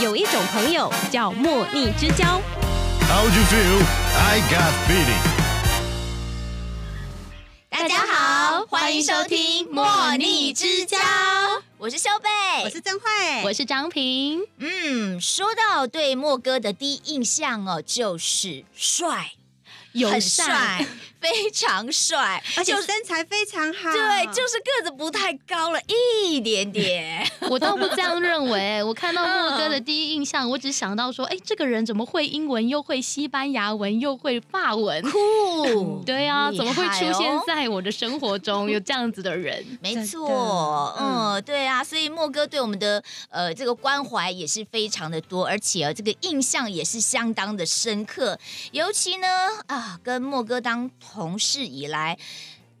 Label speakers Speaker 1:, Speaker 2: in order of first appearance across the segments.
Speaker 1: 有一种朋友叫莫逆之交。
Speaker 2: How'd you feel? I got feeling.
Speaker 3: 大家好，欢迎收听《莫逆之交》，我是修贝，
Speaker 4: 我是郑慧，
Speaker 3: 哎
Speaker 1: 我是张平，
Speaker 3: 嗯，说到对莫哥的第一印象哦，就是帅，
Speaker 1: 友
Speaker 3: 很
Speaker 1: 善
Speaker 3: 帅，非常帅，
Speaker 4: 而且
Speaker 3: 就是啊
Speaker 4: 身材非常好。
Speaker 3: 对，就是个子不太高了一点点，
Speaker 1: 我倒不这样认为。我看到莫
Speaker 3: 嗯
Speaker 1: 哥的第一印象，我只想到说，哎，这个人怎么会英文，又会西班牙文，又会 法文？
Speaker 3: 酷
Speaker 1: 对啊，
Speaker 3: 哦
Speaker 1: 怎么会出现
Speaker 3: 在？
Speaker 1: 在我的生活中有这样子的人？
Speaker 3: 没
Speaker 4: 真的
Speaker 3: 错，嗯，对啊，所以莫哥对我们的呃这个关怀也是非常的多，而且、呃、这个印象也是相当的深刻。尤其呢啊，跟莫哥当同事以来。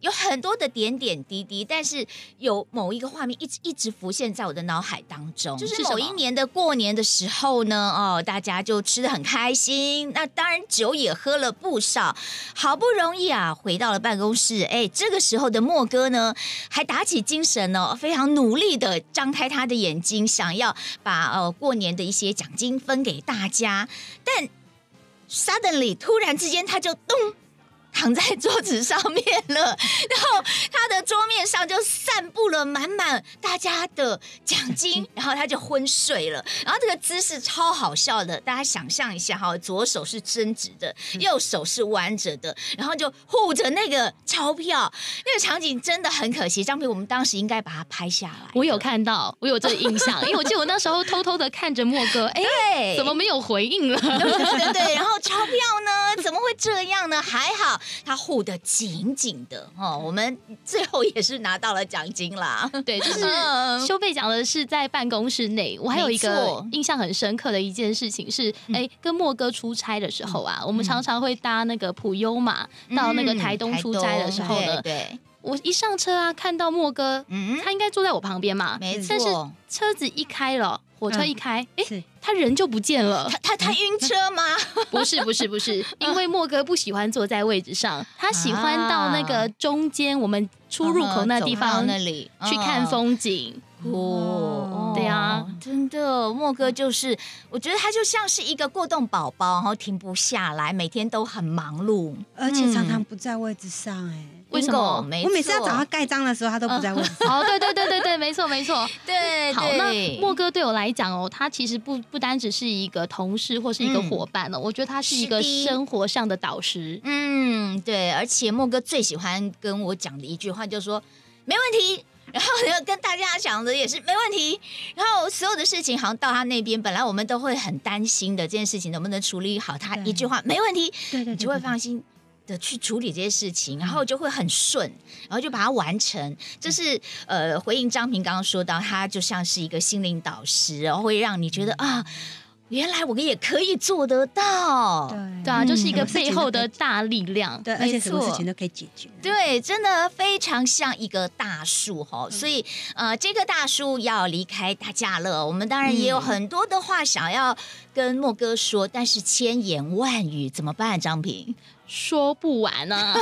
Speaker 3: 有很多的点点滴滴，但是有某一个画面一直一直浮现在我的脑海当中，就是是
Speaker 1: 什
Speaker 3: 某
Speaker 1: 么
Speaker 3: 一年的过年的时候呢，哦，大家就吃的很开心，那当然酒也喝了不少，好不容易啊，回到了办公室，哎，这个时候的莫哥呢，还打起精神哦，非常努力的张开他的眼睛，想要把呃过年的一些奖金分给大家，但 suddenly 突然之间他就咚。躺在桌子上面了， 然后他的桌面上就散布了满满大家的奖 金，然后他就昏睡了。然后这个姿势超好笑的，大家想象一下哈，左手是伸直的，
Speaker 1: 嗯
Speaker 3: 右手是弯着的，然后就护着那个钞票，那个场景真的很可惜。张平，我们当时应该把它拍下来。
Speaker 1: 我有看到，我有这个印象，因为我记得我那时候偷偷的看着莫哥，哎，
Speaker 3: 对，
Speaker 1: 怎么没有回应了？
Speaker 3: 对对 对，然后钞票呢？怎么会这样呢？还好他护得紧紧的哦，我们最后也是拿到了奖金啦。
Speaker 1: 对，就是
Speaker 3: 嗯
Speaker 1: 修贝讲的是在办公室内，我还有一
Speaker 3: 没
Speaker 1: 个
Speaker 3: 错嗯
Speaker 1: 印象很深刻的一件事情是，哎、跟莫哥出差的时候啊，我们常常会搭那个普悠玛、到那个台东出差的时候呢
Speaker 3: 嗯嗯台东，对，对
Speaker 1: 我一上车啊，看到莫哥，
Speaker 3: 嗯，
Speaker 1: 他应该坐在我旁边嘛，
Speaker 3: 没
Speaker 1: 但是
Speaker 3: 错。
Speaker 1: 车子一开了，火车
Speaker 4: 嗯
Speaker 1: 一开，哎、
Speaker 4: 是
Speaker 1: 他人就不 见了
Speaker 3: 他。他他晕车吗？
Speaker 1: 不是不是不是， 因为莫哥不喜欢坐在位置上，他喜欢到那个中间我们出入口那地
Speaker 3: 嗯 走到
Speaker 1: 方
Speaker 3: 那里
Speaker 1: 去看。
Speaker 3: 嗯
Speaker 1: 风景。
Speaker 3: 哦，
Speaker 1: 对啊，
Speaker 3: 真的，莫哥就是，我觉得他就像是一个过动宝宝，然后停不下来，每天都很忙碌。
Speaker 4: 而且常常不在位置上哎、
Speaker 1: 为什么
Speaker 3: Bingo，没
Speaker 4: 我每次要
Speaker 3: 错
Speaker 4: 找他盖章的时候，他都不在位置上。
Speaker 1: 哦，对对对对对，没错没错。
Speaker 3: 对，
Speaker 1: 好，
Speaker 3: 对
Speaker 1: 那莫哥对我来讲哦，他其实不不单只是一个同事或是一个
Speaker 3: 嗯
Speaker 1: 伙伴哦，我觉得他是一
Speaker 3: 是
Speaker 1: 个
Speaker 3: 的
Speaker 1: 生活上的导师。
Speaker 3: 嗯，对，而且莫哥最喜欢跟我讲的一句话就是说没问题。然后呢，跟大家讲的也是没问题。然后所有的事情好像到他那边，本来我们都会很担心的，这件事情能不能处理好？他
Speaker 4: 对嗯
Speaker 3: 一句话没问题，
Speaker 4: 对 对
Speaker 3: 你就会放心的去处理这些事
Speaker 4: 嗯
Speaker 3: 情，然后就会很顺，然后就把它完成。这是呃，回应张平刚刚说到，他就像是一个心灵导师，然后会让你觉得
Speaker 4: 嗯
Speaker 3: 啊，原来我也可以做得到。
Speaker 4: 对
Speaker 1: 对啊，就是一个
Speaker 4: 什么事
Speaker 1: 背
Speaker 4: 情
Speaker 1: 后
Speaker 4: 都可
Speaker 1: 的
Speaker 4: 以
Speaker 1: 大力量。
Speaker 4: 对，而且什么事情都可以解决。
Speaker 3: 啊对，真的非常像一个大树哈、所以呃，这个大树要离开大家了。我们当然也有很多的话想要跟莫哥说，但是千言万语怎么办？张平，
Speaker 1: 说不完啊，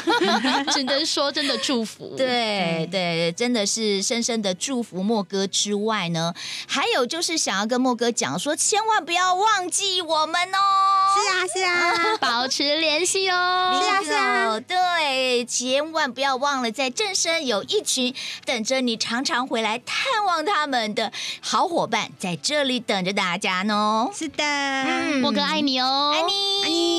Speaker 1: 只能说真的祝福。
Speaker 3: 对对，真的是深深的祝福莫哥之外呢，还有就是想要跟莫哥讲说，千万不要忘记我们哦。
Speaker 4: 是啊，是啊，
Speaker 1: 保持联系哦。
Speaker 4: 是啊是啊
Speaker 3: 对，千万不要忘了，在正身有一群等着你常常回来探望他们的好伙伴，在这里等着大家呢。
Speaker 4: 是的。
Speaker 3: 嗯
Speaker 1: 莫哥爱你哦，
Speaker 3: 爱你，爱你。